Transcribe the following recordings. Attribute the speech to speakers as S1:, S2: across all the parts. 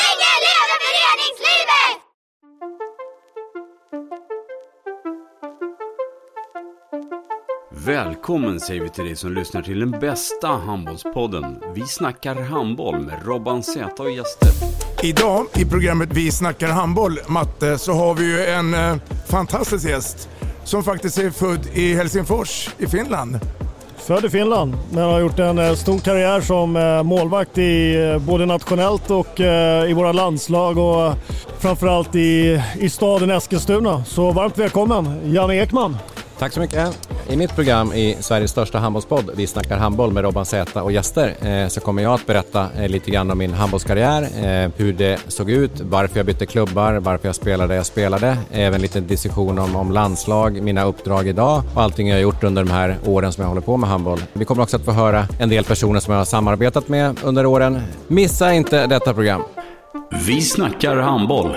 S1: Länge leve föreningslivet!
S2: Välkommen säger vi till dig som lyssnar till den bästa handbollspodden. Vi snackar handboll med Robban Z och gäster.
S3: Idag i programmet Vi snackar handboll, Matte, så har vi ju en eh, fantastisk gäst som faktiskt är född i Helsingfors i Finland.
S4: Född i Finland, men har gjort en eh, stor karriär som eh, målvakt i, eh, både nationellt och eh, i våra landslag och eh, framförallt i, i staden Eskilstuna. Så varmt välkommen, Janne Ekman.
S5: Tack så mycket. I mitt program i Sveriges största handbollspodd, Vi snackar handboll med Robban Zäta och gäster, eh, så kommer jag att berätta eh, lite grann om min handbollskarriär, eh, hur det såg ut, varför jag bytte klubbar, varför jag spelade jag spelade, även lite diskussion om, om landslag, mina uppdrag idag och allting jag har gjort under de här åren som jag håller på med handboll. Vi kommer också att få höra en del personer som jag har samarbetat med under åren. Missa inte detta program.
S2: Vi snackar handboll.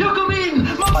S6: Jag kom in! Mamma,